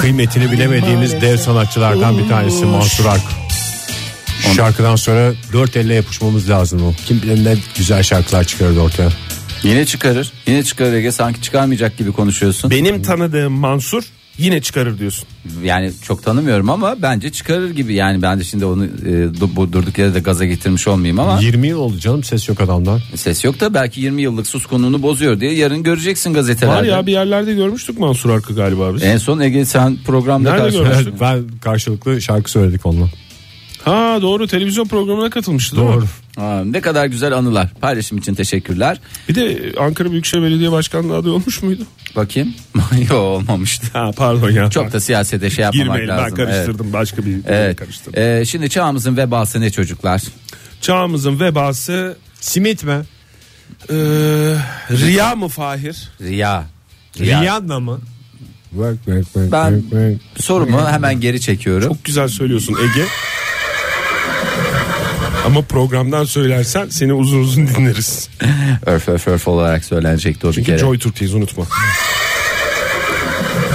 Kıymetini bilemediğimiz dev sanatçılardan bir tanesi Mansur Ark. Şarkıdan sonra dört elle yapışmamız lazım o. Kim bilir ne güzel şarkılar çıkarırdı ortaya. Yine çıkarır. Yine çıkarır Ege. Sanki çıkarmayacak gibi konuşuyorsun. Benim tanıdığım Mansur yine çıkarır diyorsun. Yani çok tanımıyorum ama bence çıkarır gibi. Yani ben de şimdi onu e, du- bu durduk yere de gaza getirmiş olmayayım ama 20 yıl oldu canım ses yok adamdan. ses yok da belki 20 yıllık suskunluğunu bozuyor diye yarın göreceksin gazetelerde. Var ya bir yerlerde görmüştük Mansur Arkı galiba biz. En son Ege sen programda Nerede karşı- gördün? Ben, ben karşılıklı şarkı söyledik onunla. Ha doğru televizyon programına katılmıştı değil mi? Aa, ne kadar güzel anılar. Paylaşım için teşekkürler. Bir de Ankara Büyükşehir Belediye Başkanlığı aday olmuş muydu? Bakayım. Yok olmamıştı. Ha pardon ya. Çok da siyasete şey yapmamak Girmeyelim ben lazım. Evet. karıştırdım başka bir evet. Evet. karıştırdım. Ee, şimdi çağımızın vebası ne çocuklar? Çağımızın vebası Simit mi? e, Riya mı Fahir? Riya. Rihanna mı? Ben sorumu hemen geri çekiyorum. Çok güzel söylüyorsun Ege. Ama programdan söylersen seni uzun uzun dinleriz. Örf örf örf olarak söylenecekti o bir Çünkü kere. Joy Türkiye'yiz unutma.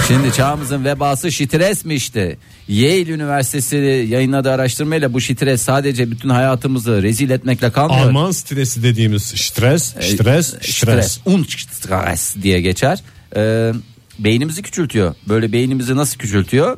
Şimdi çağımızın vebası şitresmişti. Yale Üniversitesi yayınladığı araştırmayla bu şitres sadece bütün hayatımızı rezil etmekle kalmıyor. Alman stresi dediğimiz stres, stres, stres. Stres. Un stres diye geçer. Ee, beynimizi küçültüyor. Böyle beynimizi nasıl küçültüyor?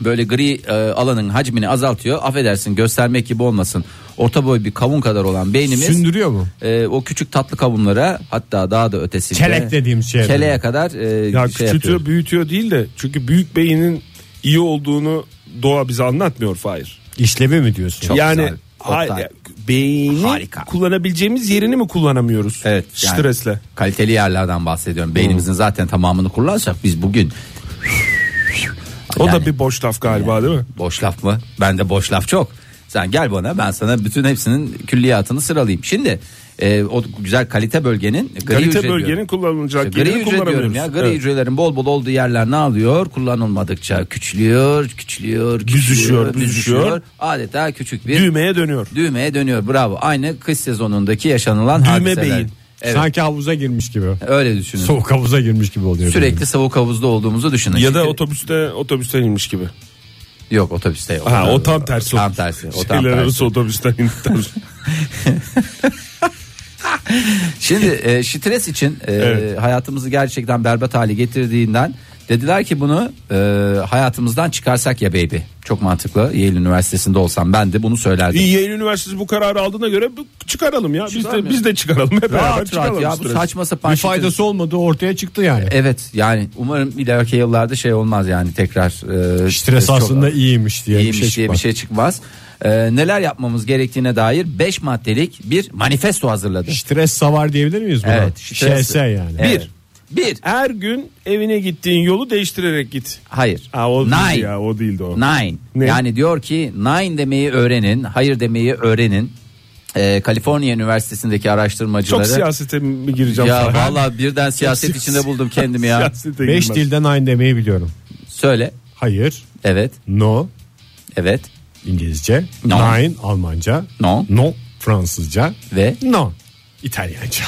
Böyle gri e, alanın hacmini azaltıyor. Affedersin göstermek gibi olmasın. Orta boy bir kavun kadar olan beynimiz Sündürüyor mu? e, o küçük tatlı kavunlara hatta daha da ötesinde. Kelek dediğimiz şey. Keleğe kadar e, Ya şey küçültüyor yapıyor. büyütüyor değil de çünkü büyük beynin iyi olduğunu doğa bize anlatmıyor Fahir. İşlevi mi diyorsun? Çok yani güzel. hayır, Oktay. beyni Harika. kullanabileceğimiz yerini mi kullanamıyoruz? Evet, yani Stresle. Hmm. Kaliteli yerlerden bahsediyorum. Beynimizin zaten tamamını kullansak biz bugün O Yani- da bir boş laf galiba değil mi? Boş laf mı? Bende boş laf çok. Sen gel bana ben sana bütün hepsinin külliyatını sıralayayım. Şimdi e, o güzel kalite bölgenin gri hücre Kalite diyorum. bölgenin kullanılacak İşte gri yerini hücre diyorum kullanamıyoruz. ya. Gri Evet. hücrelerin bol bol olduğu yerler ne alıyor? Kullanılmadıkça küçülüyor, küçülüyor, küçülüyor, Büzüşüyor, büzüşüyor. Adeta küçük bir Düğmeye dönüyor. düğmeye dönüyor. Bravo. Aynı kış sezonundaki yaşanılan Düğme hadiseler. beyin. Evet. Sanki havuza girmiş gibi. Öyle düşünün. Soğuk havuza girmiş gibi oluyor. Sürekli soğuk havuzda olduğumuzu düşünün. Ya da Çünkü- otobüste otobüsten inmiş gibi. Yok otobüste yok. Ha o tam tersi. Tam tersi. O tam Şeyler tersi. arası otobüsten inmiş. Şimdi e, stres için e, Evet. hayatımızı gerçekten berbat hale getirdiğinden dediler ki bunu e, hayatımızdan çıkarsak ya baby. Çok mantıklı. Yale Üniversitesi'nde olsam ben de bunu söylerdim. İyi, Yale Üniversitesi bu kararı aldığına göre bu- çıkaralım ya. Biz de, Çıkarmayalım. biz de çıkaralım. Hep beraber Rahat rahat çıkaralım ya bu stresi. saçma sapan Bir stres- faydası olmadığı ortaya çıktı yani. Evet yani umarım ileriki yıllarda şey olmaz yani tekrar e, Stres çok- aslında iyiymiş diye iyiymiş bir şey diye bir çıkmaz. şey çıkmaz. E, neler yapmamız gerektiğine dair 5 maddelik bir manifesto hazırladı. Stres savar diyebilir miyiz buna? Evet, stres- ŞS yani. Evet. Bir. Her gün evine gittiğin yolu değiştirerek git. Hayır. Ha, o Nine. değildi ya o değildi o. Nine. Ne? Yani diyor ki nine demeyi öğrenin, hayır demeyi öğrenin. Ee, Kaliforniya Üniversitesi'ndeki Çok araştırmacıları. siyasete mi gireceğim? Ya sana? valla birden siyaset siyasi- içinde buldum kendimi ya. Siyasete Beş girmez. dilden aynı demeyi biliyorum. Söyle. Hayır, Evet. no Evet. İngilizce, No. nine Almanca, No. no Fransızca Ve no İtalyanca.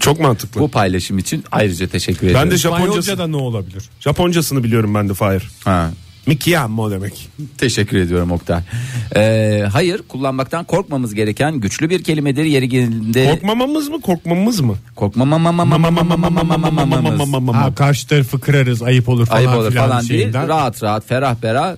Çok mantıklı. bu paylaşım için ayrıca teşekkür ederim. ben de İspanyolca Japoncası, da ne olabilir? Japoncasını biliyorum ben de Fahir. Ha, Mikiyam o demek. Teşekkür ediyorum Oktay. Ee, hayır kullanmaktan korkmamız gereken güçlü bir kelimedir. Yeri geldiğinde Korkmamamız mı korkmamamız mı? korkmamamamamamamamamamamamamamamamamamamamamamamamamamamamamamamamamız. Ha, karşı tarafı kırarız ayıp olur falan Ayıp olur filan falan değil. şeyinden. Rahat rahat ferah berah. e,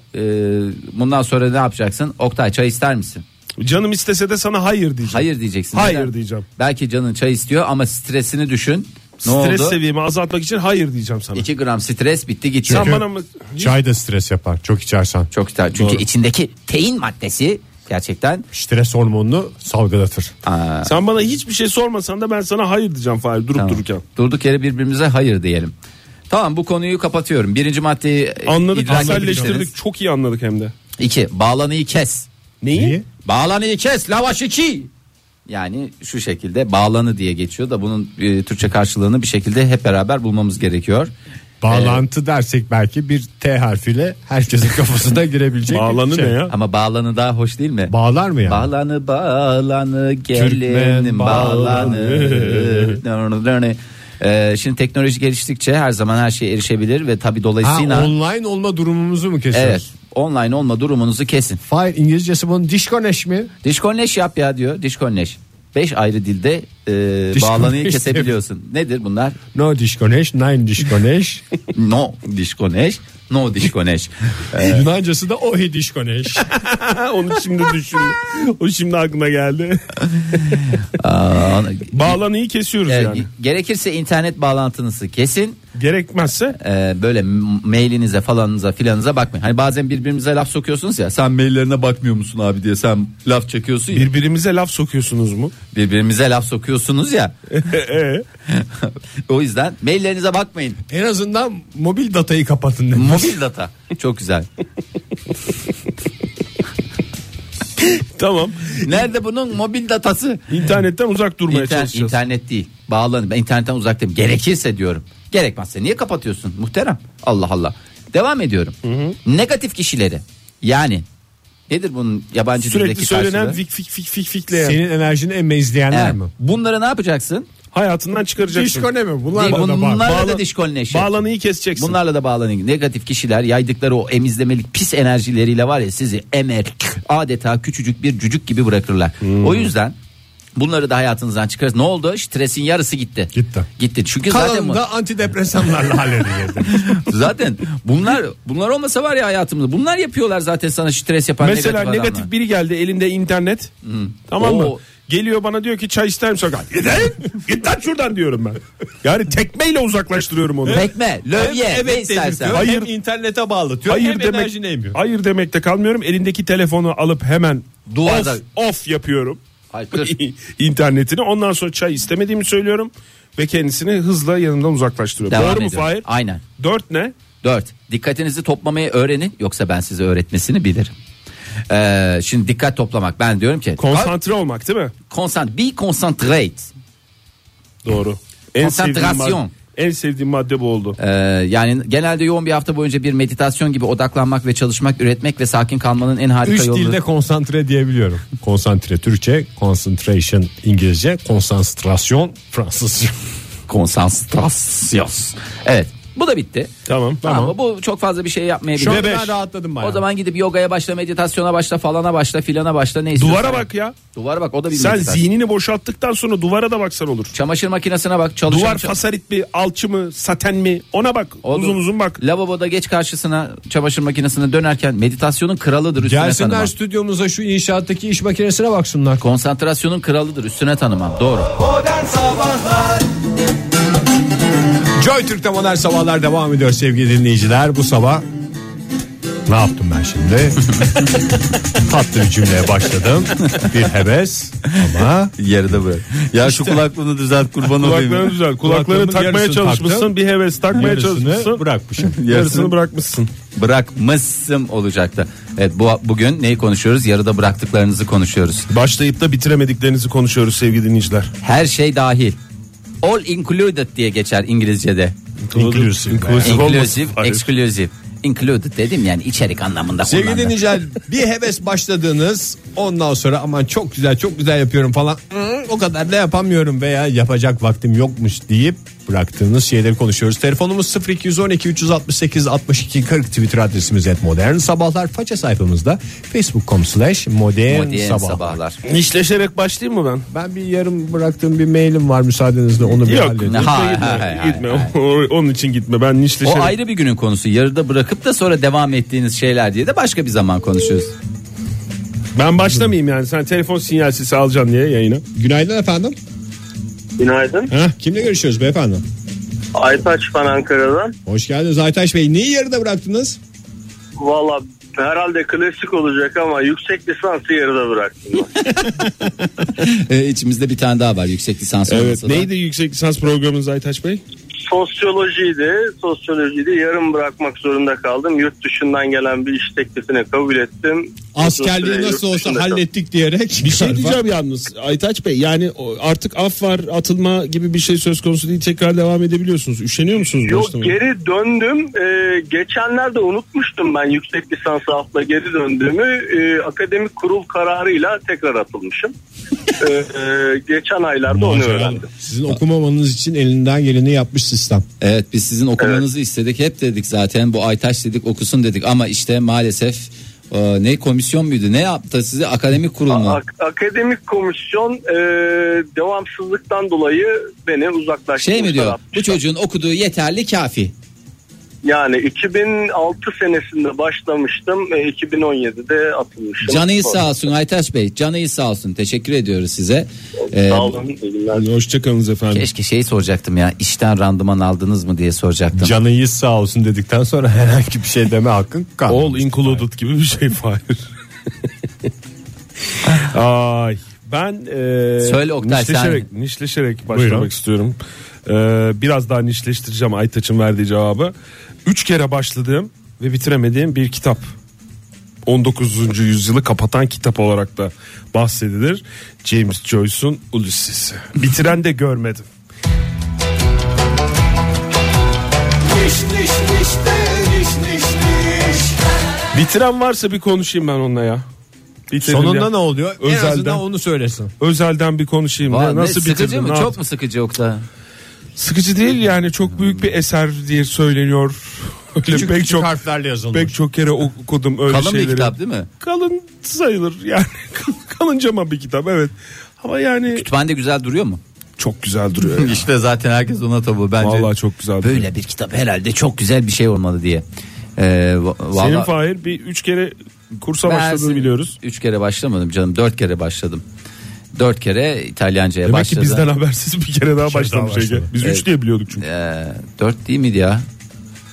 bundan sonra ne yapacaksın? Oktay çay ister misin? Canım istese de sana hayır diyeceğim. Hayır diyeceksin. Hayır diyeceğim. Belki canın çay istiyor ama stresini düşün. Ne Stres oldu? seviyemi azaltmak için hayır diyeceğim sana. 2 gram stres bitti gitti. Sen Çünkü bana mı? Çay da stres yapar çok içersen. Çok güzel. Çünkü Doğru. içindeki tein maddesi gerçekten Stres hormonunu salgılatır. aa, Sen bana hiçbir şey sormasan da ben sana hayır diyeceğim Fahir durup tamam. dururken. durduk yere birbirimize hayır diyelim. Tamam bu konuyu kapatıyorum. Birinci maddeyi e, Anladık, idrak aselleştirdik. etmişsiniz. Çok iyi anladık hem de. İki bağlanıyı kes. Neyi? İyi. Bağlanıyı kes lavaş iki. Yani şu şekilde bağlanı diye geçiyor da bunun e, Türkçe karşılığını bir şekilde hep beraber bulmamız gerekiyor. Bağlantı dersek belki bir T harfiyle herkesin kafasına girebilecek. bir Bağlanı şey. ne ya? Ama bağlanı daha hoş değil mi? Bağlar mı yani? Bağlanı bağlanı Türkmen gelinim bağlanı. Ee, şimdi teknoloji geliştikçe her zaman her şeye erişebilir ve tabi Ha, dolayısıyla online olma durumumuzu mu kesiyoruz? evet online olma durumunuzu kesin. Hayır İngilizcesi bunun disconnect mi? Diskonleş yap ya diyor. Diskonleş. 5 ayrı dilde e, bağlanıyı kesebiliyorsun. Nedir bunlar? No disconnect, nine disconnect. No diskonleş, no diskonleş. Yunancası da ohi disconnect. Onu şimdi düşün. o şimdi aklına geldi. Aa, Bağlanıyı kesiyoruz e, yani. gerekirse internet bağlantınızı kesin. Gerekmezse E, böyle m- mailinize falanınıza filanınıza bakmayın. Hani bazen birbirimize laf sokuyorsunuz ya. Sen maillerine bakmıyor musun abi diye sen laf çekiyorsun ya. birbirimize laf sokuyorsunuz mu? E, birbirimize laf sokuyorsunuz ya. o yüzden maillerinize bakmayın. en azından mobil datayı kapatın demiş. Mobil data çok güzel. Tamam. Nerede bunun mobil datası? İnternetten uzak durmaya İnter- çalışacağız. internet değil. Bağlanın. Ben internetten uzaktayım. Gerekirse diyorum. Gerekmezse niye kapatıyorsun muhterem? Allah Allah. Devam ediyorum. Negatif kişileri. Yani nedir bunun yabancı Sürekli dildeki söylenen karşılığı? fik fik fik fik fikleyen. Senin enerjini emmezleyenler Evet. mi? Bunları ne yapacaksın? Hayatından çıkaracaksın. Disconnect mi? Bunlar Değil, da bağlı. bunlarla da Bağlan- dişkonleşir. Bağlanıyı keseceksin. Bunlarla da bağlanın. Negatif kişiler yaydıkları o emizlemelik pis enerjileriyle var ya sizi emer adeta küçücük bir cücük gibi bırakırlar. Hmm. O yüzden bunları da hayatınızdan çıkarız. Ne oldu? Stresin yarısı gitti. Gitti. Gitti. Çünkü zaten Kalanını bu- da antidepresanlarla halledilir. zaten bunlar bunlar olmasa var ya hayatımızda. Bunlar yapıyorlar zaten sana stres yapan Mesela negatif, negatif, adamlar. biri geldi elinde internet. Hmm. Tamam Oo. mı? Geliyor bana diyor ki çay ister misin? Neden? Git lan şuradan diyorum ben. Yani tekmeyle uzaklaştırıyorum onu. Pekme, lövye, ne istersen. Hayır. Hayır. Hem internete bağlatıyor Hayır hem demek, enerjini emmiyor. hayır demekte kalmıyorum. Elindeki telefonu alıp hemen Duvarda- off, off yapıyorum. Ay, kır. internetini. Ondan sonra çay istemediğimi söylüyorum ve kendisini hızla yanından uzaklaştırıyorum. Devam Doğru mu ediyorum. Fahir? Aynen. Dört ne? Dört. Dikkatinizi toplamayı öğrenin yoksa ben size öğretmesini bilirim. Ee, şimdi dikkat toplamak. Ben diyorum ki Konsantre olmak değil mi? konsant, be concentrate. Doğru. En sevdiğim, Konsantrasyon. madde, en sevdiğim madde bu oldu. Ee, yani genelde yoğun bir hafta boyunca bir meditasyon gibi odaklanmak ve çalışmak, üretmek ve sakin kalmanın en harika Üç yolu. dilde konsantre diyebiliyorum. Konsantre Türkçe, concentration İngilizce, konsantrasyon Fransızca. Konsantrasyon. Evet. Bu da bitti. Tamam, Ama bu çok fazla bir şey yapmayabilir. Şu anda Bebeş. ben rahatladım bayağı. O zaman gidip yogaya başla, meditasyona başla, falana başla, filana başla ne istiyorsan. Duvara bak ya. Duvara bak o da bir Sen meditasyon. zihnini boşalttıktan sonra duvara da baksan olur. Çamaşır makinesine bak, çalışan Duvar ça- fasarit mi, alçı mı, saten mi ona bak. Oğlum, Uzun uzun bak. Lavaboda geç karşısına çamaşır makinesine dönerken meditasyonun kralıdır üstüne tanımam. Gelsinler stüdyomuza şu inşaattaki iş makinesine baksınlar. Konsantrasyonun kralıdır üstüne tanımam. Doğru. Joy Türk'te modern sabahlar devam ediyor sevgili dinleyiciler. Bu sabah ne yaptım ben şimdi? Tatlı bir cümleye başladım. Bir heves ama Yarıda bırak. Ya şu kulaklığını düzelt kurban Kulaklarını düzel. Kulaklarını Kulaklığımın takmaya yarısını çalışmışsın. taktım. Bir heves takmaya yarısını çalışmışsın. bırakmışım. Yarısını bırakmışsın. Bırakmışsın olacaktı. Evet bu bugün neyi konuşuyoruz? Yarıda bıraktıklarınızı konuşuyoruz. Başlayıp da bitiremediklerinizi konuşuyoruz sevgili dinleyiciler. Her şey dahil. All included diye geçer İngilizce'de. Inclusive. Inclusive, exclusive. Included dedim yani içerik anlamında Sevgili kullandım. dinleyiciler bir heves başladığınız ondan sonra aman çok güzel çok güzel yapıyorum falan "Hmm, o kadar da yapamıyorum veya yapacak vaktim yokmuş deyip bıraktığınız şeyleri konuşuyoruz. Telefonumuz 0212 368 62 40 Twitter adresimiz et modern sabahlar faça sayfamızda facebook.com slash modern Modern sabahlar. sabahlar. Nişleşerek başlayayım mı ben? Ben bir yarım bıraktığım bir mailim var müsaadenizle onu bir Yok. halledeyim. gitme, Ha, gitme, ha, ha, gitme. Onun için gitme. Ben O nişleşerek. ayrı bir günün konusu. Yarıda bırakıp da sonra devam ettiğiniz şeyler diye de başka bir zaman konuşuyoruz. Ben başlamayayım yani. Sen telefon sinyal sesi alacaksın diye yayına. Günaydın efendim. Günaydın. Heh, kimle görüşüyoruz beyefendi? Aytaç ben Ankara'dan. Hoş geldiniz Aytaş Bey. Neyi yarıda bıraktınız? Valla herhalde klasik olacak ama yüksek lisansı yarıda bıraktım. ben. Ee, içimizde bir tane daha var yüksek lisans Evet. olması da. Neydi yüksek lisans programınız Aytaç Bey? Sosyolojiydi. Sosyolojiydi. Yarım bırakmak zorunda kaldım. Yurt dışından gelen bir iş teklifini kabul ettim. Askerliği nasıl olsa hallettik diyerek. Bir şey diyeceğim yalnız Aytaç Bey yani o- artık af var atılma gibi bir şey söz konusu değil tekrar devam edebiliyorsunuz. Üşeniyor musunuz? Yok başlamaya? geri döndüm. Ee, geçenlerde unutmuştum ben yüksek lisans hafta geri döndüğümü. Ee, akademik kurul kararıyla tekrar atılmışım. Ee, e, geçen aylarda onu öğrendim. Sizin okumamanız için elinden geleni yapmış sistem. Evet biz sizin okumanızı istedik. Hep dedik zaten bu Aytaş dedik okusun dedik ama işte maalesef e, ne komisyon muydu ne yaptı size akademik kurul mu? Ak- akademik komisyon e, devamsızlıktan dolayı beni uzaklaştırmışlar. Şey mi diyor bu atmışlar. çocuğun okuduğu yeterli kafi. Yani 2006 senesinde başlamıştım. E, 2017'de atılmıştım. Canı sağ olsun Aytaç Bey canı sağ olsun teşekkür ediyoruz size. E, Sağ olun. iyi günler. Hoşçakalınız efendim. keşke şey soracaktım ya işten randıman aldınız mı diye soracaktım. Canıyız sağ olsun dedikten sonra herhangi bir şey deme hakkın kalmadı. All included gibi bir şey Fahir. Ay ben e, Söyle Oktay, sen- nişleşerek, nişleşerek başlamak Buyurun. istiyorum. E, biraz daha nişleştireceğim Aytaç'ın verdiği cevabı. Üç kere başladığım ve bitiremediğim bir kitap. 19. yüzyılı kapatan kitap olarak da bahsedilir. James Joyce'un Ulysses'i. Bitiren de görmedim. Bitiren varsa bir konuşayım ben onunla ya. Bitirin Sonunda ya. ne oluyor? En Özelden. azından onu söylesin. Özelden bir konuşayım. Vay, ya. ne, Nasıl sıkıcı bitirdin? mı Ne çok yaptın? mu sıkıcı Oktay? Sıkıcı değil yani çok büyük bir eser diye söyleniyor. Öyle Küçük pek küçük çok harflerle yazılmış. pek çok kere okudum öyle Kalın şeyleri. bir kitap değil mi? Kalın sayılır yani. Kalıncama bir kitap evet. Ama yani Kütüphanede güzel duruyor mu? çok güzel duruyor. ya. İşte zaten herkes ona tabu bence. Vallahi çok güzel duruyor. Böyle bir kitap herhalde çok güzel bir şey olmalı diye. Ee, va- Senin vallahi- Fahir bir üç kere kursa Ben başladığını sizin- biliyoruz. Üç kere başlamadım canım dört kere başladım. Dört kere İtalyanca'ya Demek başladım. ki bizden habersiz bir kere daha kere başlamış şey daha Ege. başladı. Biz üç diye biliyorduk çünkü. Ee, dört değil miydi ya?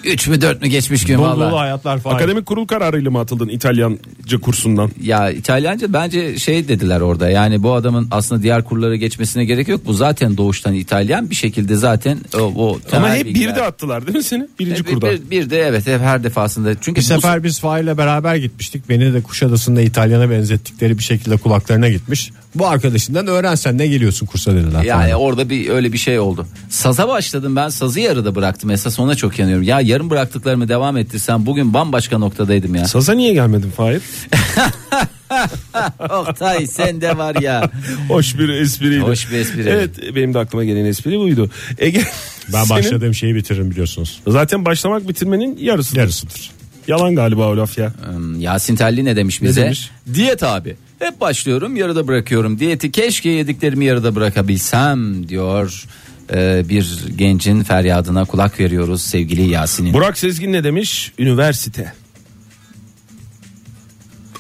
Üç mü dört mü geçmiş gün Dolu dolu valla. hayatlar falan. Akademik kurul kararıyla mı atıldın İtalyanca kursundan? Ya İtalyanca bence şey dediler orada yani bu adamın aslında diğer kurlara geçmesine gerek yok. Bu zaten doğuştan İtalyan bir şekilde zaten o, o Ama temel hep bilgiler- bir de attılar değil mi seni? Birinci bir, kurda. bir, bir de evet hep her defasında. Çünkü Bir bu- sefer biz Fahir'le beraber gitmiştik. Beni de Kuşadası'nda İtalyan'a benzettikleri bir şekilde kulaklarına gitmiş. Bu arkadaşından öğrensen ne geliyorsun kursa dediler. Yani Yani orada bir öyle bir şey oldu. Saza başladım ben sazı yarıda bıraktım. Esas ona çok yanıyorum. Ya yarım bıraktıklarımı devam ettirsem bugün bambaşka noktadaydım ya. Saza niye gelmedin Fahir? Oktay sen de var ya. Hoş bir espriydi. Hoş bir espri. Evet benim de aklıma gelen espri buydu. Ege ben senin- başladığım şeyi bitiririm biliyorsunuz. Zaten başlamak bitirmenin yarısıdır. Yarısıdır. Yalan galiba o laf ya. Hmm, Yasin Telli ne demiş bize? demiş? Diyet abi. Hep başlıyorum yarıda bırakıyorum. Diyeti keşke yediklerimi yarıda bırakabilsem diyor. Ee, bir gencin feryadına kulak veriyoruz sevgili Yasin'in. Burak Sezgin ne demiş? Üniversite.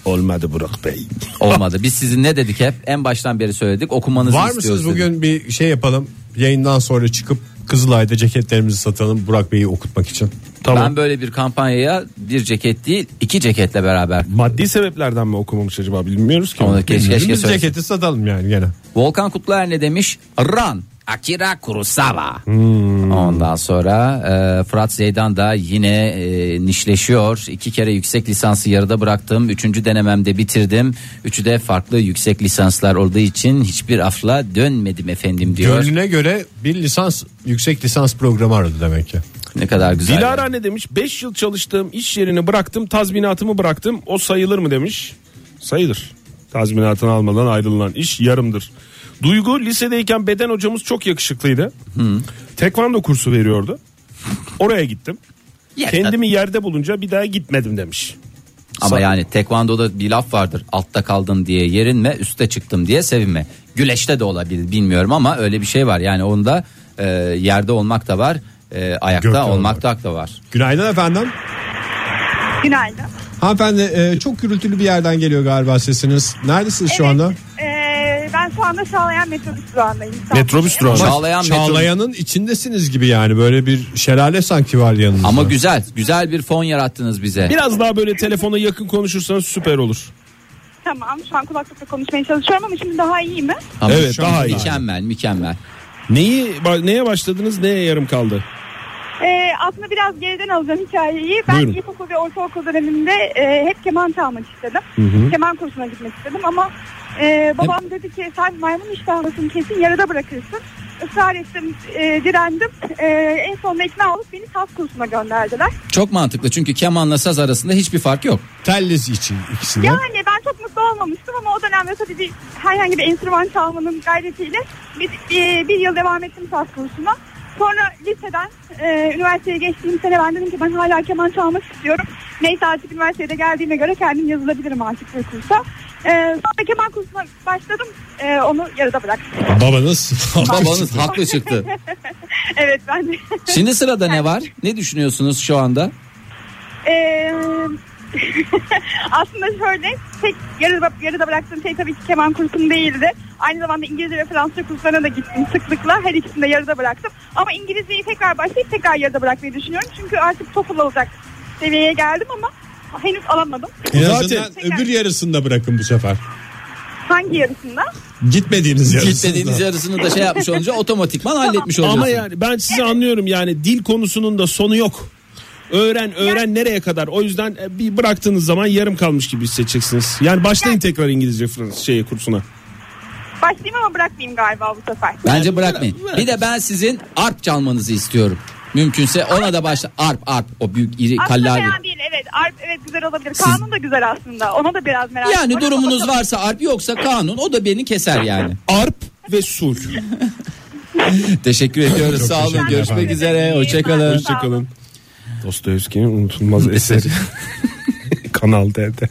Olmadı Burak Bey. Olmadı. Biz sizin ne dedik hep? En baştan beri söyledik. Okumanızı Var istiyoruz. mısınız dedik. bugün bir şey yapalım. Yayından sonra çıkıp Kızılay'da ceketlerimizi satalım Burak Bey'i okutmak için. Ben böyle bir kampanyaya bir ceket değil iki ceketle beraber. Maddi sebeplerden mi okumamış acaba bilmiyoruz ki. Onu keşke, keşke Biz söylesin. ceketi satalım yani gene. Volkan Kutluer ne demiş? Ran. Akira Kurosawa. Ondan sonra e, Fırat Zeydan da yine e, nişleşiyor. İki kere yüksek lisansı yarıda bıraktım. Üçüncü denememde bitirdim. Üçü de farklı yüksek lisanslar olduğu için hiçbir afla dönmedim efendim diyor. Gönlüne göre bir lisans yüksek lisans programı aradı demek ki. Ne kadar güzel. Dilara ne demiş? 5 yıl çalıştığım iş yerini bıraktım, tazminatımı bıraktım. O sayılır mı demiş? Sayılır. Tazminatını almadan ayrılan iş yarımdır. Duygu lisedeyken beden hocamız çok yakışıklıydı. Tekvando kursu veriyordu. Oraya gittim. Ya, Kendimi yerde bulunca bir daha gitmedim demiş. Ama yani tekvandoda bir laf vardır. Altta kaldım diye yerinme, üste çıktım diye sevinme. Güleşte de olabilir bilmiyorum ama öyle bir şey var. Yani onda e, yerde olmak da var, e, ayakta Gökte olmak da, da var. Günaydın efendim. Günaydın. Hanımefendi e, çok gürültülü bir yerden geliyor galiba sesiniz. Neredesiniz şu Evet, anda? eee, Ee, ben şu anda Çağlayan metrobüs durağındayım. Metrobüs durağı. Çağlayan metro- Çağlayan'ın içindesiniz gibi yani böyle bir şelale sanki var yanınızda. Ama güzel, güzel bir fon yarattınız bize. Biraz daha böyle telefona yakın konuşursanız süper olur. Tamam şu an kulaklıkla konuşmaya çalışıyorum ama şimdi daha iyi mi? Ama Evet, şu an daha iyi. Mükemmel, mükemmel. Neyi ba- neye başladınız neye yarım kaldı? Ee, aslında biraz geriden alacağım hikayeyi. Ben Buyurun. ilkokul ve ortaokul döneminde e, hep keman çalmak istedim. Keman kursuna gitmek istedim ama e, babam dedi ki sen maymun iştahlısın kesin yarıda bırakırsın. Israr ettim, e, direndim. E, en sonunda ikna olup beni saz kursuna gönderdiler. Çok mantıklı çünkü kemanla saz arasında hiçbir fark yok. Telliz için ikisini. Yani ben çok mutlu olmamıştım ama o dönemde tabii bir herhangi bir enstrüman çalmanın gayretiyle bir, e, bir, bir yıl devam ettim saz kursuna. Sonra liseden e, üniversiteye geçtiğim sene ben dedim ki ben hala keman çalmak istiyorum. Neyse artık üniversitede geldiğime göre kendim yazılabilirim artık bir kursa. E, sonra keman kursuna başladım. E, onu yarıda bıraktım. Babanız. Babanız haklı çıktı. Evet ben de. Şimdi sırada ne var? Ne düşünüyorsunuz şu anda? Ee, aslında şöyle tek yarıda, yarıda bıraktığım şey tabii ki keman kursum değildi. Aynı zamanda İngilizce ve Fransızca kurslarına da gittim sıklıkla. Her ikisini de yarıda bıraktım. Ama İngilizceyi tekrar başlayıp tekrar yarıda bırakmayı düşünüyorum. Çünkü artık TOEFL olacak seviyeye geldim ama henüz alamadım. En Zaten- azından öbür yarısında bırakın bu sefer. Hangi yarısında? Gitmediğiniz yarısında. Gitmediğiniz yarısını da şey yapmış olunca otomatikman halletmiş Ama olacaksın. yani ben sizi anlıyorum yani dil konusunun da sonu yok. Öğren öğren nereye kadar? O yüzden e, bir bıraktığınız zaman yarım kalmış gibi hissedeceksiniz. Yani başlayın tekrar İngilizce Fransız şey kursuna. Başlayayım ama bırakmayayım galiba bu sefer. Bence bırakmayın. Bir de ben sizin arp çalmanızı istiyorum. Mümkünse ona da başla. Arp arp o büyük iri Aslında kallavi. fena değil evet. Arp, evet güzel olabilir. Kanun da güzel aslında. Ona da biraz merak Yani ediyorum. durumunuz varsa arp yoksa kanun o da beni keser yani. Arp ve sul. Teşekkür ediyoruz. Çok sağ olun. teşekkür Görüşmek ederim. üzere. Hoşçakalın. Hoşçakalın. Dostoyevski'nin unutulmaz eseri. Kanal D'de.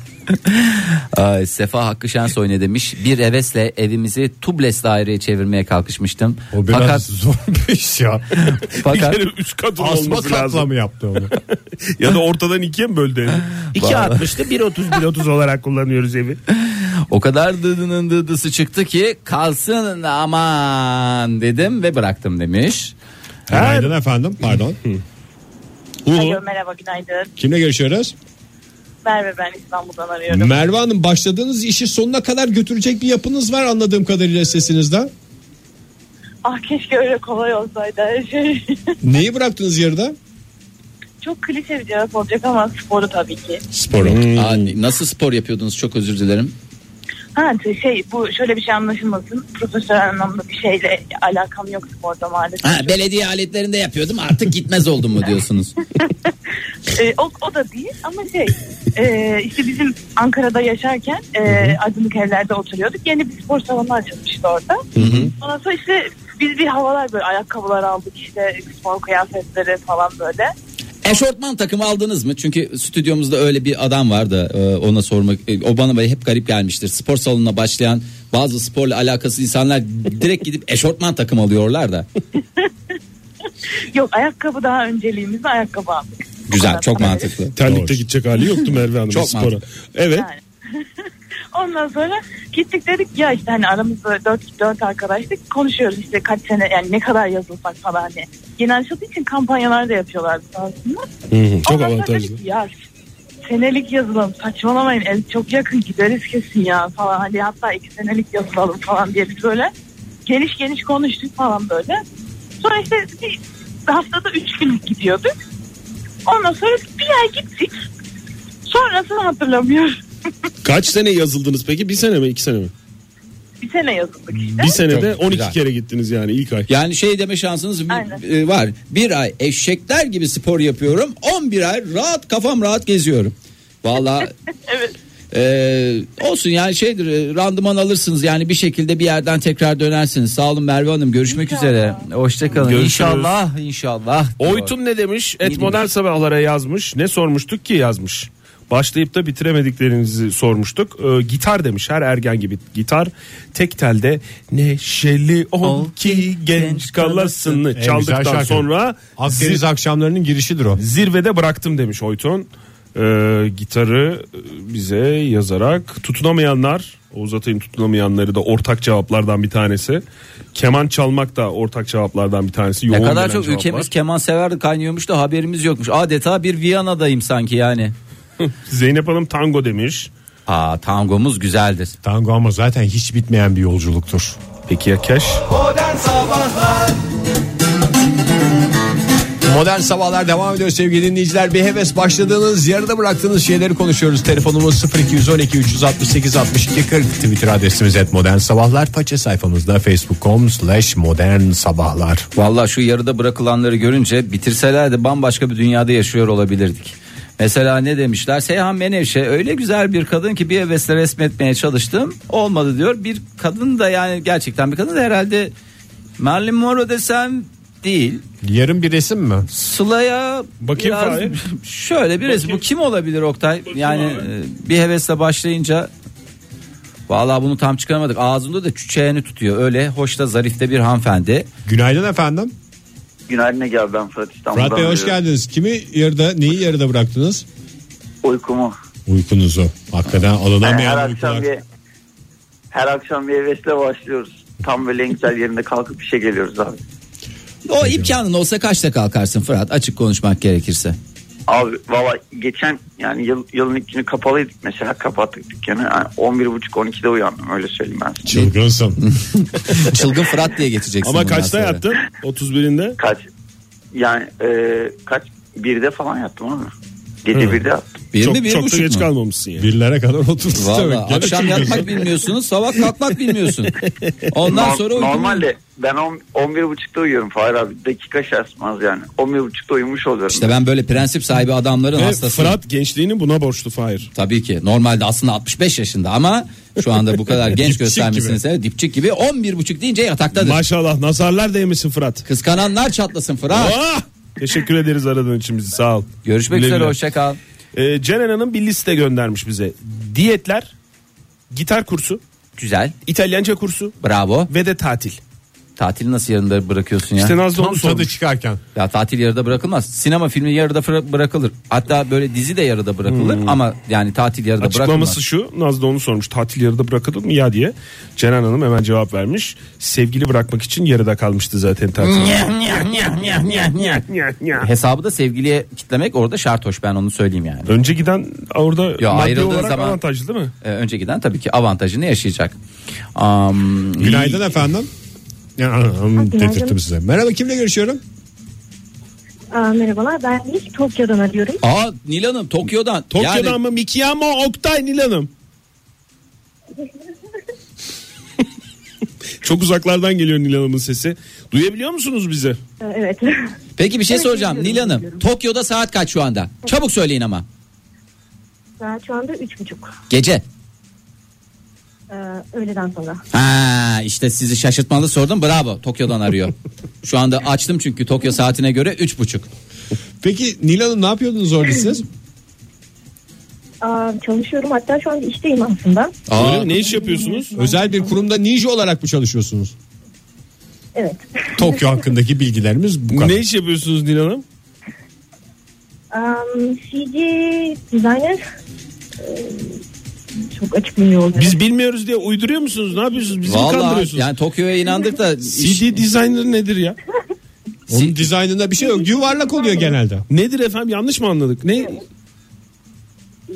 Ay, Ee, Sefa Hakkı Şensoy ne demiş? Bir hevesle evimizi tubles daireye çevirmeye kalkışmıştım. O biraz Fakat zor bir iş ya. fakat Bir kere üst katın Asma olması katla lazım. mı yaptı onu? Ya da ortadan ikiye mi böldü evi? 2.60'lı 1.30 1.30 olarak kullanıyoruz evi. o kadar dıdının dıdısı çıktı ki kalsın aman dedim ve bıraktım demiş. Günaydın efendim. Pardon. Alo merhaba günaydın. Kimle görüşüyoruz? Merve ben İstanbul'dan arıyorum. Merve Hanım başladığınız işi sonuna kadar götürecek bir yapınız var anladığım kadarıyla sesinizden. ah keşke öyle kolay olsaydı her şey. Neyi bıraktınız yarıda? Çok klişe bir cevap olacak ama sporu tabii ki. Sporu. Aa, nasıl spor yapıyordunuz? Çok özür dilerim. Ha şey bu şöyle bir şey anlaşılmasın. Profesyonel anlamda bir şeyle alakam yok sporda maalesef. Ha, belediye aletlerinde yapıyordum artık gitmez oldum mu diyorsunuz? Ee, o, o da değil ama şey e, işte bizim Ankara'da yaşarken e, Aydınlık evlerde oturuyorduk. Yeni bir spor salonu açılmıştı orada. Ondan sonra işte biz bir havalar böyle ayakkabılar aldık işte spor kıyafetleri falan böyle. Eşortman takımı aldınız mı? Çünkü stüdyomuzda öyle bir adam var da e, ona sormak e, o bana böyle hep garip gelmiştir. Spor salonuna başlayan bazı sporla alakası insanlar direkt gidip eşortman takım alıyorlar da. Yok ayakkabı daha önceliğimizde ayakkabı aldık. Güzel çok mantıklı. Terlikte Doğru. gidecek hali yoktu Merve Hanım Çok spora. mantıklı. Evet. Yani. Ondan sonra gittik dedik ya işte hani aramızda dört, dört arkadaştık konuşuyoruz işte kaç sene yani ne kadar yazılsak falan hani. Yeni açıldığı için kampanyalar da yapıyorlar aslında. Çok Ondan sonra avantajlı. dedik ki, ya senelik yazılım saçmalamayın ev çok yakın gideriz kesin ya falan hani hatta iki senelik yazılalım falan diye biz böyle geniş geniş konuştuk falan böyle. Sonra işte bir haftada üç gün gidiyorduk. Ondan sonra bir ay gittik. Sonrasını hatırlamıyorum. Kaç sene yazıldınız peki? Bir sene mi? iki sene mi? Bir sene yazıldık işte. Bir senede Çok 12 güzel. kere gittiniz yani Hani ilk ay. Yani şey deme şansınız bir- Aynen. e, var. Bir ay eşekler gibi spor yapıyorum. 11 ay rahat kafam rahat geziyorum. Valla Evet. olsun yani şeydir e, randıman alırsınız yani bir şekilde bir yerden tekrar dönersiniz. Sağ olun Merve Hanım görüşmek üzere. Hoşçakalın. Görüşürüz. İnşallah inşallah. Oytun ne demiş? Et demiş? modern sabahlara yazmış. Ne sormuştuk ki yazmış. Başlayıp da bitiremediklerinizi sormuştuk. Ee, gitar demiş her ergen gibi gitar. Tek telde neşeli ol ki genç kalasını En güzel çaldıktan şarkı. sonra Akdeniz zir- akşamlarının girişidir o. zirvede bıraktım demiş Oytun. Ee, gitarı e, bize yazarak tutunamayanlar Oğuz Atay'ın tutunamayanları da ortak cevaplardan bir tanesi. Keman çalmak da ortak cevaplardan bir tanesi. Ne Yoğun kadar gelen çok cevaplar. ülkemiz keman severdi kaynıyormuş da haberimiz yokmuş. Adeta bir Viyana'dayım sanki yani. Zeynep Hanım tango demiş. Aa tangomuz güzeldir. Tango ama zaten hiç bitmeyen bir yolculuktur. Peki ya keş? Modern Sabahlar Modern Sabahlar devam ediyor sevgili dinleyiciler. Bir heves başladığınız yarıda bıraktığınız şeyleri konuşuyoruz. Telefonumuz 0212 368 62 40 Twitter adresimiz et Modern Sabahlar. Paça sayfamızda facebook.com slash modern sabahlar. Vallahi şu yarıda bırakılanları görünce bitirselerdi bambaşka bir dünyada yaşıyor olabilirdik. Mesela ne demişler? Seyhan Menevşe öyle güzel bir kadın ki bir hevesle resmetmeye çalıştım. Olmadı diyor. Bir kadın da yani gerçekten bir kadın da herhalde Marilyn Monroe desem değil. Yarın bir resim mi? Sıla'ya Bakayım biraz- Fahir. şöyle bir resim. Bu kim olabilir Oktay? yani e, bir hevesle başlayınca Vallahi bunu tam çıkaramadık. Ağzında da çiçeğini tutuyor. Öyle hoş da zarif de bir hanımefendi. Günaydın efendim. Günaydın Ege abi ben Fırat İstanbul'dan. Fırat Bey hoş arıyorum. geldiniz. Kimi yarıda neyi yarıda bıraktınız? Uykumu. Uykunuzu. Hakikaten Yani alınamayan her uykular. akşam bir her akşam bir hevesle başlıyoruz. Tam böyle en güzel yerinde kalkıp işe geliyoruz abi. O imkanın olsa kaçta kalkarsın Fırat açık konuşmak gerekirse. Abi valla geçen yani yıl, yılın ilk günü kapalıydık mesela kapattık dükkanı. Yani 11.30-12'de uyandım öyle söyleyeyim ben. size. Çılgınsın. Çılgın Fırat diye geçeceksin. Ama bundan kaçta sonra. yattın? 31'inde. Kaç yani e, kaç birde falan yattım abi. Gece birde yattım. Bir Çok, mi bir çok da buçuk geç mu? kalmamışsın yani. Birlere kadar oturduk. Vallahi Tabii. Gene akşam çılgınsın. yatmak bilmiyorsunuz sabah kalkmak bilmiyorsun. Ondan Nor- sonra uyku- Normalde ben on- 11.30'da uyuyorum Fahir abi. Dakika şaşmaz yani. 11.30'da uyumuş oluyorum. İşte ben böyle prensip sahibi adamların Ve hastası. Fırat gençliğini buna borçlu Fahir. Tabii ki normalde aslında 65 yaşında ama şu anda bu kadar genç göstermesini sebebi dipçik gibi 11 buçuk deyince yataktadır. Maşallah nazarlar değmesin Fırat. Kıskananlar çatlasın Fırat. Ah! Teşekkür ederiz aradığın için bizi sağ ol. Görüşmek Güle üzere güle. hoşça kal. Ee, Ceren Hanım bir liste göndermiş bize. Diyetler, gitar kursu, Güzel. İtalyanca kursu Bravo. ve de tatil. Tatili nasıl yarında bırakıyorsun ya? İşte Nazlı Tam onu tadı sormuş. çıkarken. Ya tatil yarıda bırakılmaz. Sinema filmi yarıda fıra- bırakılır. Hatta böyle dizi de yarıda bırakılır ama yani tatil yarıda bırakılmaz. Hmm. Açıklaması şu Nazlı onu sormuş tatil yarıda bırakılır mı ya diye. Ceren Hanım hemen cevap vermiş. Sevgili bırakmak için yarıda kalmıştı zaten tatil. Hesabı da sevgiliye kitlemek orada şart hoş ben onu söyleyeyim yani. Önce giden orada Yo, maddi ayrıldığı olarak zaman- avantajlı değil mi? Ee, önce giden tabii ki avantajını yaşayacak. Am, Günaydın efendim. Ya, dedirttim size. Merhaba kimle görüşüyorum? Aa, merhabalar ben ilk Tokyo'dan arıyorum. Aa Nil Hanım Tokyo'dan. Tokyo'dan Yani mı Mikiya mı Oktay Nil Hanım? Çok uzaklardan geliyor Nil Hanım'ın sesi. Duyabiliyor musunuz bizi? Ee, evet. peki bir şey Evet, soracağım dinliyorum, Nil Hanım. dinliyorum. Tokyo'da saat kaç şu anda? Çabuk söyleyin ama. Saat şu anda üç buçuk. Gece. Ee, öğleden sonra. Ha işte sizi şaşırtmalı sordum. Bravo. Tokyo'dan arıyor. Şu anda açtım çünkü Tokyo saatine göre üç buçuk. Peki Nil Hanım ne yapıyordunuz orada siz? Aa, çalışıyorum hatta şu anda işteyim aslında. Aa, Öyle mi? Ne iş yapıyorsunuz? Özel bir kurumda ninja olarak mı çalışıyorsunuz? Evet. Tokyo hakkındaki bilgilerimiz bu kadar. Ne iş yapıyorsunuz Nil Hanım? Um, CG designer. Ee, çok açıklamıyor oluyor. Biz bilmiyoruz diye uyduruyor musunuz? Ne yapıyorsunuz? Bizi mi Vallahi kandırıyorsunuz? yani Tokyo'ya inandık da CD designer nedir ya? Onun dizaynında bir şey yok. Yuvarlak oluyor genelde. Nedir efendim yanlış mı anladık? Ne?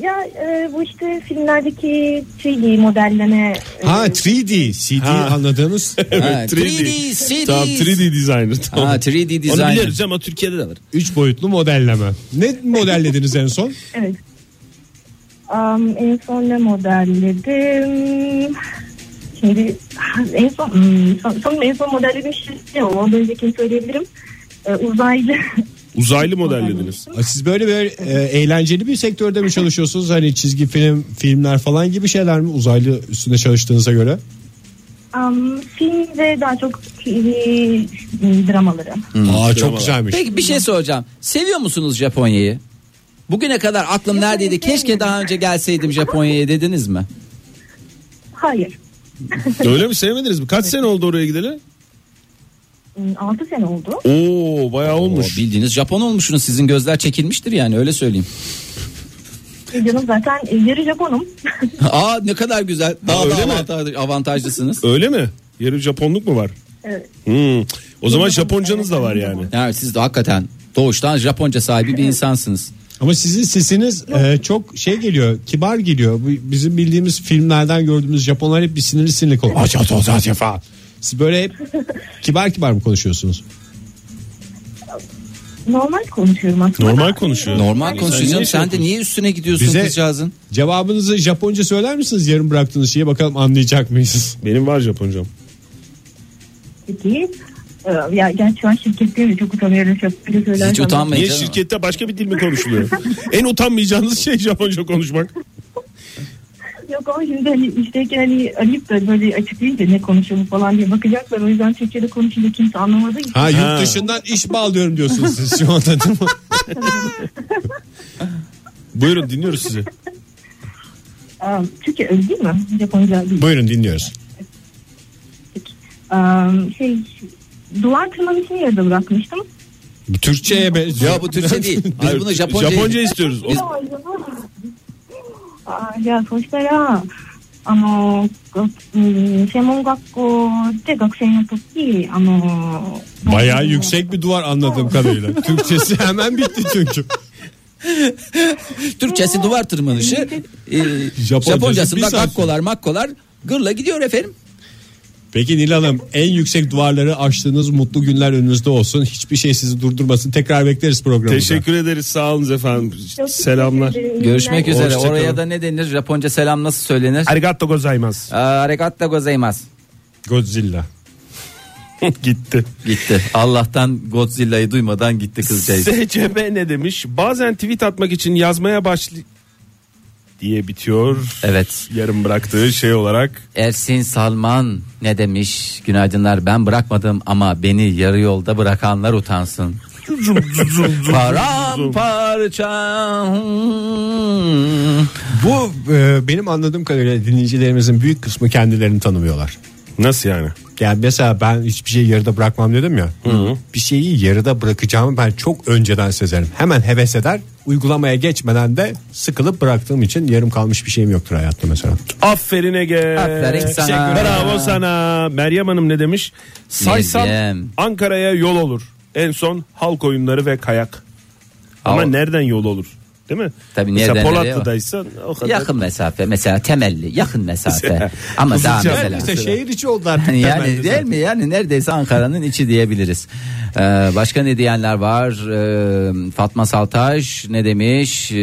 Ya e, bu işte filmlerdeki 3D modelleme. e, Ha 3D, CD Ha. anladığınız. Ha, 3D. 3D, CD. Tamam 3D designer tamam. Ha, 3D Onu designer. biliyoruz ama Türkiye'de de var. 3 boyutlu modelleme. Ne modellediniz en son? Evet. Um, en son ne modelledim? Şimdi en son, hmm, son, son en son modellediğim şey ne o? Ondan öncekini söyleyebilirim. Ee, uzaylı. Uzaylı modellediniz. Siz böyle bir e, eğlenceli bir sektörde mi çalışıyorsunuz? Hani çizgi film, filmler falan gibi şeyler mi? Uzaylı üstünde çalıştığınıza göre. um, film ve daha çok TV dramaları. Aa çok güzelmiş. Hmm. Peki bir şey soracağım. Seviyor musunuz Japonya'yı? Bugüne kadar aklım neredeydi? Keşke daha önce gelseydim Japonya'ya dediniz mi? Hayır. Öyle mi sevmediniz mi? Kaç sene oldu oraya gideli? 6 Hmm, sene oldu. Oo bayağı olmuş. O bildiğiniz Japon olmuşsunuz. Sizin gözler çekilmiştir yani öyle söyleyeyim. E, Canım zaten e, yarı Japonum. Aa ne kadar güzel. Daha öyle da mi? avantaj- avantajlısınız. Öyle mi? Yarı Japonluk mu var? Evet. Hmm. O zaman Japoncanız da var yani. Yani siz de hakikaten doğuştan Japonca sahibi bir insansınız. Ama sizin sesiniz e, çok şey geliyor, kibar geliyor. Bu bizim bildiğimiz filmlerden gördüğümüz Japonlar hep bir sinirli sinirli konuşuyor. Siz böyle hep kibar kibar mı konuşuyorsunuz? normal konuşuyorum aslında. Normal konuşuyor. Normal sen konuşuyorsun. niye şey Sen de niye üstüne e, gidiyorsun Bize- kızcağızın? Cevabınızı Japonca söyler misiniz yarım bıraktığınız şeye bakalım anlayacak mıyız? Benim var Japoncam. Peki. Ee, Ya gerçi şu an şirkette de çok utanıyorum. Çok böyle söylersem. Hiç utanmayın Niye canım. şirkette başka bir dil mi konuşuluyor? en utanmayacağınız şey Japonca konuşmak. Yok ama şimdi hani işteyken hani ayıp da böyle açıklayınca ne konuşuyoruz falan diye bakacaklar. O yüzden Türkçe'de konuşunca kimse anlamadı. ki. Ha Ha. yurt dışından iş bağlıyorum diyorsunuz siz şu anda değil mi? Buyurun dinliyoruz sizi. Aa, Türkçe öyle değil mi? Japonca değil. Buyurun dinliyoruz. Aa, şey duvar tırmanışını yarıda bırakmıştım. Türkçe'ye benziyor. Ya bu Türkçe değil. Biz Hayır, bunu Japonca, Japonca istiyoruz. O- Biz- あーじゃあそうしたらあのがうん専門学校で学生の時あの Bayağı yüksek bir duvar anladığım kadarıyla. Türkçesi hemen bitti çünkü. Türkçesi duvar tırmanışı. E, Japoncası Japoncasında bir saat. gakkolar makkolar gırla gidiyor efendim. Peki Nil Hanım en yüksek duvarları aştığınız mutlu günler önünüzde olsun. Hiçbir şey sizi durdurmasın. Tekrar bekleriz programımıza. Teşekkür ederiz. Sağ olun efendim. Selamlar. Görüşmek üzere. Hoşça kalın. Oraya da ne denir? Japonca selam nasıl söylenir? Arigato gozaimasu. Aa, Arigatta gozaimasu. Godzilla. Gitti. Gitti. Allah'tan Godzilla'yı duymadan gitti kızcağız. SCB ne demiş? Bazen tweet atmak için yazmaya başlı diye bitiyor. Evet. Yarım bıraktığı şey olarak. Ersin Salman ne demiş? Günaydınlar ben bırakmadım ama beni yarı yolda bırakanlar utansın. Paramparça. Bu e, benim anladığım kadarıyla dinleyicilerimizin büyük kısmı kendilerini tanımıyorlar. Nasıl yani? Yani mesela ben hiçbir şeyi yarıda bırakmam dedim ya. Bir şeyi yarıda bırakacağımı ben çok önceden sezerim. Hemen heves eder. Uygulamaya geçmeden de sıkılıp bıraktığım için yarım kalmış bir şeyim yoktur hayatta mesela. Aferin Ege. Aferin sana. Teşekkür- Bravo sana. Meryem Hanım ne demiş? Saysan Meryem. Ankara'ya yol olur. En son halk oyunları ve kayak. Ama Ama- nereden yol olur? Değil mi? Tabii Mesela nereden nereye Polatlı'daysa o kadar. Yakın mesafe mesela temelli yakın mesafe. Ama daha Kızılca- mesela. İşte şehir içi oldu artık. yani değil mi yani neredeyse Ankara'nın içi diyebiliriz. Ee, başka ne diyenler var? Ee, Fatma Saltaş ne demiş? Ee,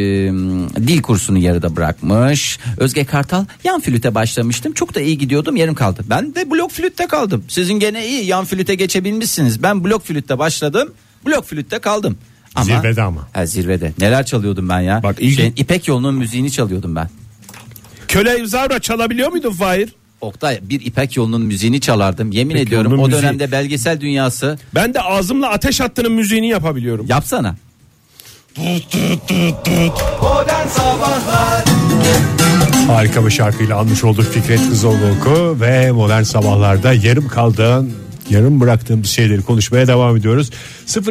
dil kursunu yarıda bırakmış. Özge Kartal yan flüte başlamıştım. Çok da iyi gidiyordum yarım kaldı. Ben de blok flütte kaldım. Sizin gene iyi yan flüte geçebilmişsiniz. Ben blok flütte başladım. Blok flütte kaldım. Ama, Zirvede ama. Ha, zirvede. Neler çalıyordum ben ya? Bak, iyi- Şeyin, İpek yolunun müziğini çalıyordum ben. Köle Zavra çalabiliyor muydun Fahir? Oktay bir İpek yolunun müziğini çalardım. Yemin İpek ediyorum Yolu'nun o müziği. dönemde belgesel dünyası Ben de ağzımla ateş hattının müziğini yapabiliyorum. yapsana. Harika bir şarkıyla almış olduk Fikret Kızıldoğlu ve Modern Sabahlar'da yarım kaldığın yarım bıraktığımız şeyleri konuşmaya devam ediyoruz.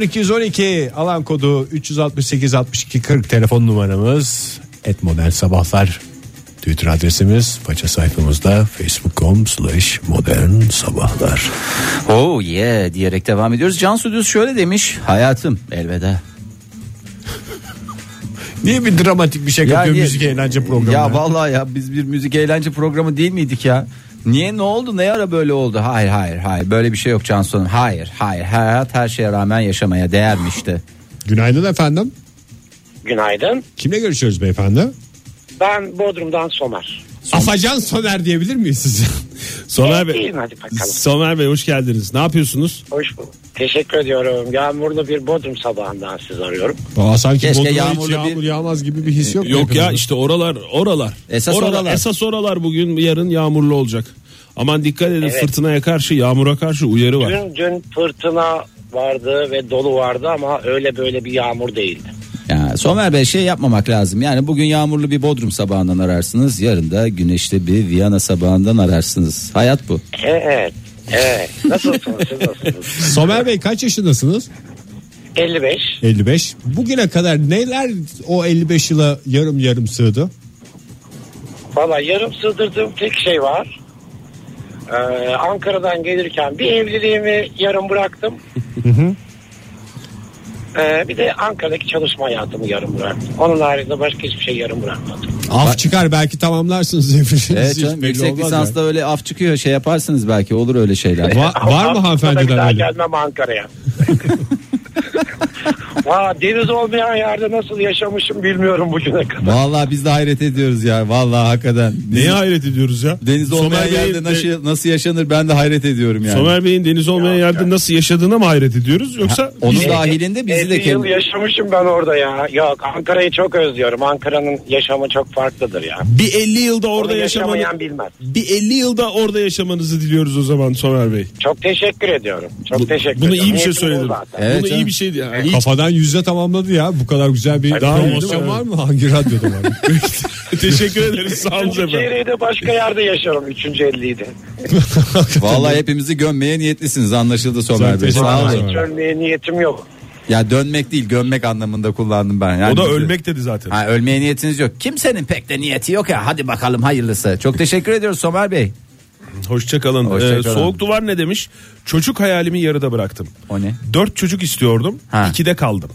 0212 alan kodu 368 62 40 telefon numaramız et modern sabahlar Twitter adresimiz faça sayfamızda facebook.com slash modern sabahlar. Oh yeah diyerek devam ediyoruz. Cansu Düz şöyle demiş. Hayatım elveda. Niye bir dramatik bir şey katıyor niye- müzik eğlence programına? Ya vallahi ya biz bir müzik eğlence programı değil miydik ya? Niye ne oldu ne ara böyle oldu? Hayır hayır hayır böyle bir şey yok Cansu Hanım. Hayır hayır hayat her şeye rağmen yaşamaya değermişti. Günaydın efendim. Günaydın. Kimle görüşüyoruz beyefendi? Ben Bodrum'dan Somer. Afacan Soner diyebilir miyiz size? Soner Bey. Değilim hadi bakalım. Somer Bey hoş geldiniz. Ne yapıyorsunuz? Hoş bulduk. Teşekkür ediyorum. Yağmurlu bir Bodrum sabahından sizi arıyorum. Aa, sanki Keşke Bodrum'a hiç yağmurlu bir- yağmur yağmaz gibi bir his yok. mu Yok ya hepimizde? işte oralar oralar. Esas oralar. Esas oralar bugün yarın yağmurlu olacak. Aman dikkat edin Evet. fırtınaya karşı yağmura karşı uyarı var. Dün, dün fırtına vardı ve dolu vardı ama öyle böyle bir yağmur değildi. Ya Somer Bey şey yapmamak lazım. Yani bugün yağmurlu bir Bodrum sabahından ararsınız. Yarın da güneşli bir Viyana sabahından ararsınız. Hayat bu. Ee, Evet. Evet. Nasılsınız siz nasılsınız? Somer Bey kaç yaşındasınız? 55. 55. Bugüne kadar neler o 55 yıla yarım yarım sığdı? Valla yarım sığdırdığım tek şey var. Ee, Ankara'dan gelirken bir evliliğimi yarım bıraktım. Ee, bir de Ankara'daki çalışma hayatımı yarım bıraktım. Onun haricinde başka hiçbir şey yarım bırakmadım. Af çıkar belki tamamlarsınız evliliğinizi. Evet hiç canım belli yüksek olmaz lisansta öyle af çıkıyor şey yaparsınız belki olur öyle şeyler. yani. Va- var Avrupa'da bir mı daha hanımefendiden öyle? gelmem Ankara'ya. Ha deniz olmayan yerde nasıl yaşamışım bilmiyorum bugüne kadar. Vallahi biz de hayret ediyoruz ya. Vallahi hakikaten. Neye hayret ediyoruz ya? Deniz olmayan Somer Bey'in yerde de- nasıl, nasıl yaşanır ben de hayret ediyorum yani. Somer Bey'in deniz olmayan yerde nasıl yaşadığına mı hayret ediyoruz yoksa şey- Onun dahilinde bizi 50 de yıl kendi... yaşamışım ben orada ya. Yok Ankara'yı çok özlüyorum. Ankara'nın yaşamı çok farklıdır ya. bir 50 yılda orada Orada yaşamanı yaşamayan bilmez. bir 50 yılda orada yaşamanızı diliyoruz o zaman Somer Bey. Çok teşekkür ediyorum. Çok teşekkür Bunu ediyorum. iyi bir şey Niyetim bu söyledin. zaten. Evet Bunu iyi canım. bir şeydi. Yani. İyi- Kafadan yüzde tamamladı ya. Bu kadar güzel bir daha promosyon. var mı? Hangi radyoda var? Teşekkür ederiz. Sağ olun Üçüncü efendim. yeri de başka yerde yaşarım. Üçüncü elliydi. Vallahi hepimizi gömmeye niyetlisiniz anlaşıldı Somer Bey. teşekkür Sağ ederim. olun. Hiç ölmeye niyetim yok. Ya dönmek değil gömmek anlamında kullandım ben. Yani O da bizi- ölmek dedi zaten. Ha, ölmeye niyetiniz yok. Kimsenin pek de niyeti yok ya. Hadi bakalım hayırlısı. Çok teşekkür ediyoruz Somer Bey. Hoşçakalın. Hoşça Ee, kalın. soğuk duvar ne demiş? Çocuk hayalimi yarıda bıraktım. O ne? Dört çocuk istiyordum. Ha. ikide kaldım.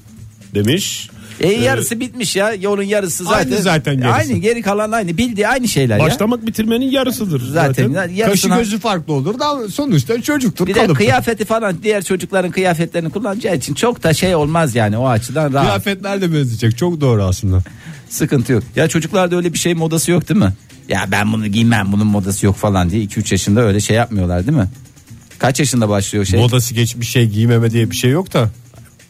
Demiş. Ee, E, yarısı bitmiş ya. Yolun yarısı zaten. Aynı zaten gerisi. Aynı geri kalan aynı. Bildiği aynı şeyler ya. Başlamak bitirmenin yarısıdır Zaten, zaten. Kaşı yarısına- gözü farklı olur da sonuçta çocuktur. Bir de kalıptır. kıyafeti falan diğer çocukların kıyafetlerini kullanacağı için çok da şey olmaz yani o açıdan rahat. Kıyafetler de benzeyecek. Çok doğru aslında. Sıkıntı yok. Ya çocuklarda öyle bir şey modası yok değil mi? Ya ben bunu giymem bunun modası yok falan diye 2-3 yaşında öyle şey yapmıyorlar değil mi? Kaç yaşında başlıyor şey? Modası geçmiş şey giymeme diye bir şey yok da.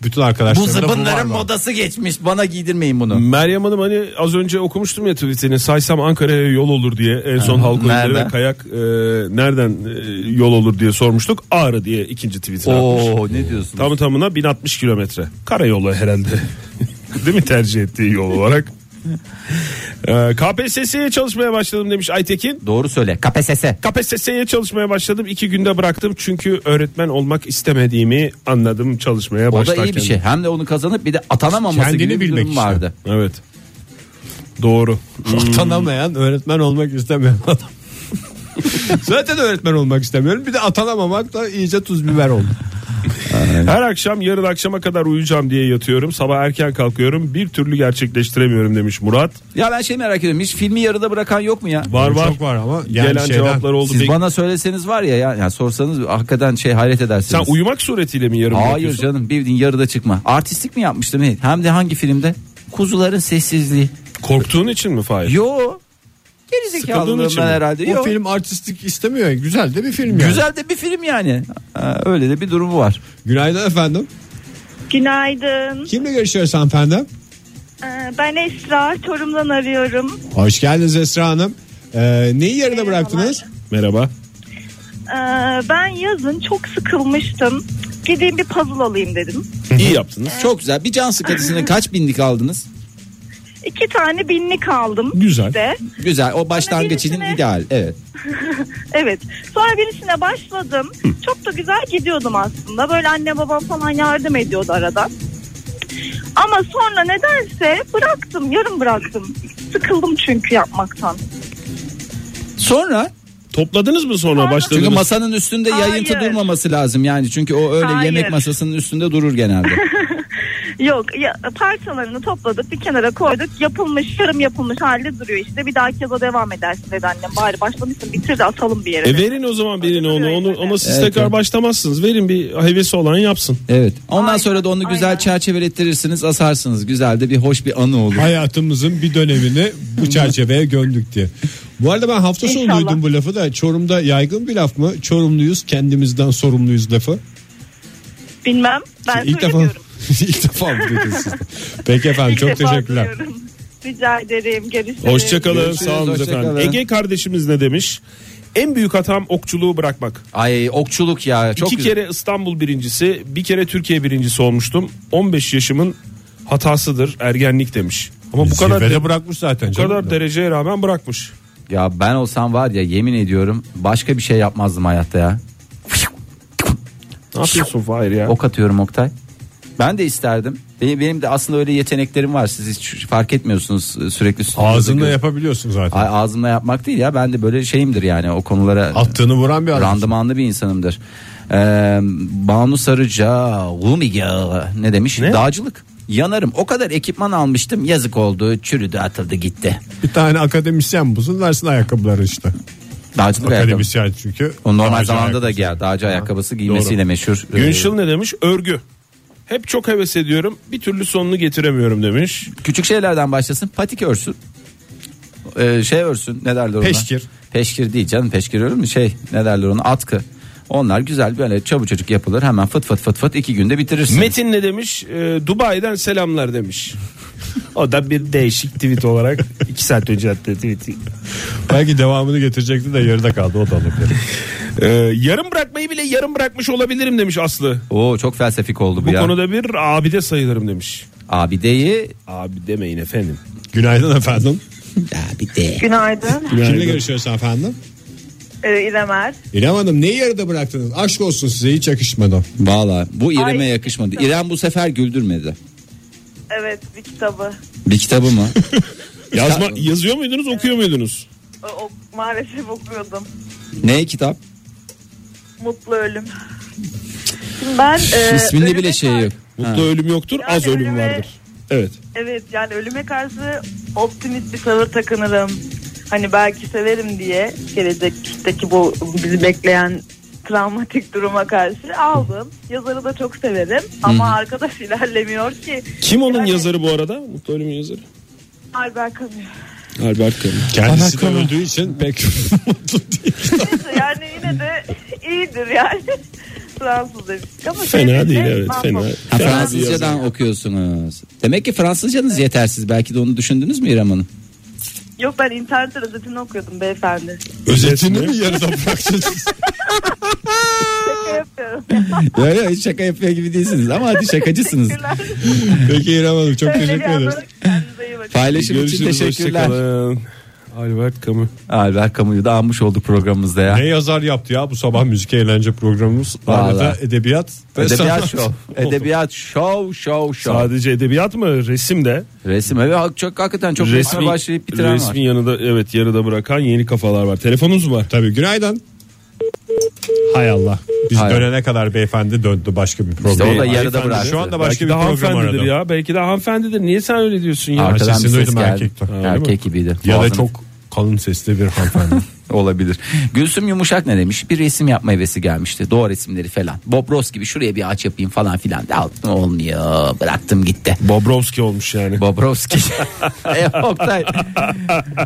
Bütün bu arkadaşlarım zıbınların modası geçmiş bana giydirmeyin bunu. Meryem Hanım hani az önce okumuştum ya tweetini saysam Ankara'ya yol olur diye en son halk oyunları nereden? ve kayak e, nereden e, yol olur diye sormuştuk. Ağrı diye ikinci tweetini atmış. Oo ne diyorsun? Tamı tamına 1060 kilometre. Karayolu herhalde. Değil mi tercih ettiği yol olarak? E, KPSS'ye çalışmaya başladım demiş Aytekin. Doğru söyle. KPSS. KPSS'ye çalışmaya başladım. iki günde bıraktım çünkü öğretmen olmak istemediğimi anladım çalışmaya O da başlarken. iyi bir şey. Hem de onu kazanıp bir de atanamaması Kendini gibi bir bilmek durum işte. vardı. Hmm. Evet. Doğru. Atanamayan öğretmen olmak istemeyen adam. Zaten öğretmen olmak istemiyorum. Bir de atanamamak da iyice tuz biber oldu. Her akşam yarın akşama kadar uyuyacağım diye yatıyorum. Sabah erken kalkıyorum. Bir türlü gerçekleştiremiyorum demiş Murat. Ya ben şey merak ediyorum. Hiç filmi yarıda bırakan yok mu ya? Var var. Çok var ama Gelen yani şeyden- cevaplar oldu. Siz Peki, bana söyleseniz var ya, ya yani sorsanız hakikaten şey hayret Sen edersiniz. uyumak suretiyle mi yarım Hayır bırakıyorsun? canım bir gün yarıda çıkma. Artistlik mi yapmıştı ne? Hem de hangi filmde? Kuzuların sessizliği. Korktuğun için mi Fahir? Yo. Sıkıldığın için Gerizekalılığından mi? herhalde. O Yo. film artistik istemiyor. Güzel de bir film yani. Güzel de bir film yani. Ha, öyle de bir durumu var. Günaydın efendim. Günaydın. Kimle görüşüyoruz hanımefendi? Ee, Ben Esra, Çorum'dan arıyorum. Hoş geldiniz Esra Hanım. Ee, neyi yarıda Merhabalar. bıraktınız? Merhaba. Ee, Ben yazın çok sıkılmıştım. Gideyim bir puzzle alayım dedim. İyi yaptınız. Çok güzel. Bir can sıkıntısını kaç binlik aldınız? İki tane binlik aldım. Güzel. Size. Güzel. O başlangıç için birisine- ideal. Evet. Evet. Sonra birisine başladım. Çok da güzel gidiyordum aslında. Böyle anne babam falan yardım ediyordu aradan. Ama sonra nedense bıraktım. Yarım bıraktım. Sıkıldım çünkü yapmaktan. Sonra Topladınız mı sonra başladınız? çünkü masanın üstünde yayıntı Hayır. durmaması lazım yani. Çünkü o öyle Hayır. yemek masasının üstünde durur genelde. Yok ya, parçalarını topladık bir kenara koyduk. Yapılmış yarım yapılmış halde duruyor işte. Bir dahaki yaza devam edersin dedi annem. Bari başlamışsın bitir de atalım bir yere. E verin o zaman birine onu. onu ona siz Evet, tekrar evet. başlamazsınız. Verin bir hevesi olan yapsın. evet. Ondan Aynen, sonra da onu güzel aynen. çerçevelettirirsiniz, asarsınız. Güzel de bir hoş bir anı olur. Hayatımızın bir dönemini bu çerçeveye gömdük diye. Bu arada ben hafta sonu İnşallah. duydum bu lafı da Çorum'da yaygın bir laf mı? Çorumluyuz kendimizden sorumluyuz lafı. Bilmem ben İlk defa, söylemiyorum. ilk defa mı duydunuz siz de? Peki efendim İlk çok defa teşekkürler. duyuyorum. Rica ederim. Görüşürüz. Hoşçakalın. Görüşürüz, Sağ olun hoşça efendim. kalın. Ege kardeşimiz ne demiş? En büyük hatam okçuluğu bırakmak. Ay okçuluk ya çok İki güzel. kere İstanbul birincisi, bir kere Türkiye birincisi olmuştum. 15 yaşımın hatasıdır ergenlik demiş. Ama bu kadar Zirvede de- bırakmış zaten. bu canım kadar da. dereceye rağmen bırakmış. Ya ben olsam var ya yemin ediyorum başka bir şey yapmazdım hayatta ya. Ne yapıyorsun Fahir ya? Ok atıyorum Oktay. Ben de isterdim. Benim, benim de aslında öyle yeteneklerim var. Siz hiç fark etmiyorsunuz sürekli. stüdyoda Ağzınla gö- yapabiliyorsun zaten. Ay, ağzımla yapmak değil ya. Ben de böyle şeyimdir yani o konulara. Attığını vuran bir adam. randımanlı bir insanımdır. Ee, Banu Sarıca, Lumiga ne demiş? Dağcılık. Yanarım. O kadar ekipman almıştım. Yazık oldu. Çürüdü, atıldı, gitti. Bir tane akademisyen bulsun versin ayakkabıları işte. Dağcılık ayakkabı. Akademisyen çünkü. O normal Dağcı zamanda da ayakkabısı. gel. Dağcı ayakkabısı giymesiyle meşhur. Ee, Günşil ne demiş? Örgü. Hep çok heves ediyorum. Bir türlü sonunu getiremiyorum demiş. Küçük şeylerden başlasın. Patik örsün. Ee, şey örsün ne derler ona? Peşkir. Peşkir değil canım peşkir örülür mü? Şey ne derler ona? Atkı. Onlar güzel böyle çabucacık yapılır. Hemen fıt fıt fıt fıt iki günde bitirirsin. Metin ne demiş? Ee, Dubai'den selamlar demiş. o da bir değişik tweet olarak iki saat önce attı tweet'i. Belki devamını getirecekti de yarıda kaldı o da olabilir. Ee, yarım bırakmayı bile yarım bırakmış olabilirim demiş Aslı. Oo çok felsefik oldu bu, Bu ya. konuda bir abide sayılırım demiş. Abideyi Abi demeyin efendim. Günaydın efendim. Ee, Günaydın. Kimle görüşüyoruz efendim? Ee, İrem Er. İrem Hanım neyi yarıda bıraktınız? Aşk olsun size hiç yakışmadı. valla bu İrem'e Ay. yakışmadı. İrem bu sefer güldürmedi. Evet bir kitabı. Bir kitabı mı? Yazma, yazıyor muydunuz okuyor muydunuz? O, o- maalesef okuyordum. ne kitap? Mutlu Ölüm. Şimdi ben e, İsminde ölüme bile şey karşı- yok. Mutlu ölüm yoktur Yani az ölüm ölüme- vardır. Evet. Evet yani ölüme karşı optimist bir tavır takınırım. Hani belki severim diye gelecekteki bu bizi bekleyen travmatik duruma karşı aldım. Yazarı da çok severim ama arkadaş ilerlemiyor ki. Kim onun Yani- yazarı bu arada? Mutlu ölümün yazarı. Albert Camus. Albert Camus. Kendisi de öldüğü için pek mutlu değil. Neyse, yani yine de iyidir yani. Fransız demiştik ama Fena şey değil de- evet Mahmut. fena. Ha, fena bir yazar. Fransızcadan okuyorsunuz. Demek ki Fransızcanız yetersiz. Belki de onu düşündünüz mü İrem Hanım? Yok ben internet özetini okuyordum beyefendi. Özetini mi yarıda bıraktınız? Şaka yapıyorum. Yok yok hiç şaka yapıyor gibi değilsiniz ama hadi şakacısınız. Peki İrem Hanım çok Öyle bir teşekkür ederiz. anladım. Kendinize iyi bakın. Paylaşım için Görüşürüz teşekkürler. hoşçakalın. Ee, Albert Camus. Albert Camus'u da anmış olduk programımızda ya. Ne yazar yaptı ya bu sabah müzik eğlence programımız. Vallahi. Arada edebiyat. ve Edebiyat sanat. şov. Edebiyat şov şov şov. Sadece edebiyat mı resim de Resim evet hak- çok hakikaten çok resmi, resmi, başlayıp bitiren resmin var. yanında evet yarıda bırakan yeni kafalar var. Telefonunuz mu var? Tabii günaydın. Hay Allah. Biz Hay dönene kadar beyefendi döndü başka bir program. İşte o da Ay, yarıda bıraktı. Şu anda Belki başka de bir program hanımefendidir aradım. Ya, ya. Belki de hanımefendidir. Niye sen öyle diyorsun ya? Arkadan sesini bir ses duydum, geldi. erkekti. Ha, öyle Erkek gibiydi. da Boğazını- çok kalın sesli bir hanımefendi. olabilir. Gülsüm Yumuşak ne demiş? Bir resim yapma hevesi gelmişti. Doğa resimleri falan. Bob Ross gibi şuraya bir ağaç yapayım falan filan. Da aldım, olmuyor. Bıraktım gitti. Bobrovski olmuş yani. Bobrovski. e, Oktay.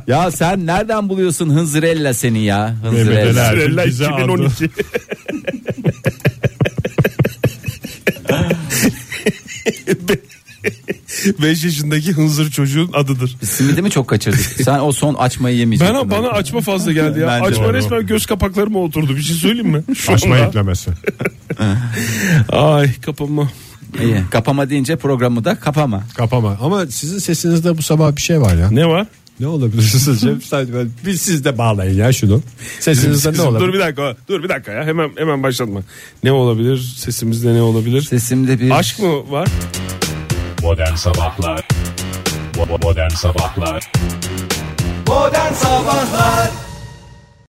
ya sen nereden buluyorsun Hınzırella seni ya? Mehmet Ali Hınzırella. Erbil Hınzırella bize andı. 2012. Be- Beş yaşındaki hınzır çocuğun adıdır. Simidi mi çok kaçırdık? Sen o son açmayı yemeyecektin. Bana bana açma fazla geldi ya. Bence açma doğru. resmen göz kapaklarıma oturdu. Bir şey söyleyeyim mi? Şu Açma anda. eklemesi. Ay kapanma. İyi. Kapama deyince programı da kapama. Kapama. Ama sizin sesinizde bu sabah bir şey var ya. Ne var? Ne olabilir sizce? Bir siz de bağlayın ya şunu. Sesinizde ne Sesim- dur olabilir? bir dakika. Dur bir dakika ya. Hemen hemen başlatma. Ne olabilir? Sesimizde ne olabilir? Sesimde bir... Aşk mı var? Modern Sabahlar Modern Sabahlar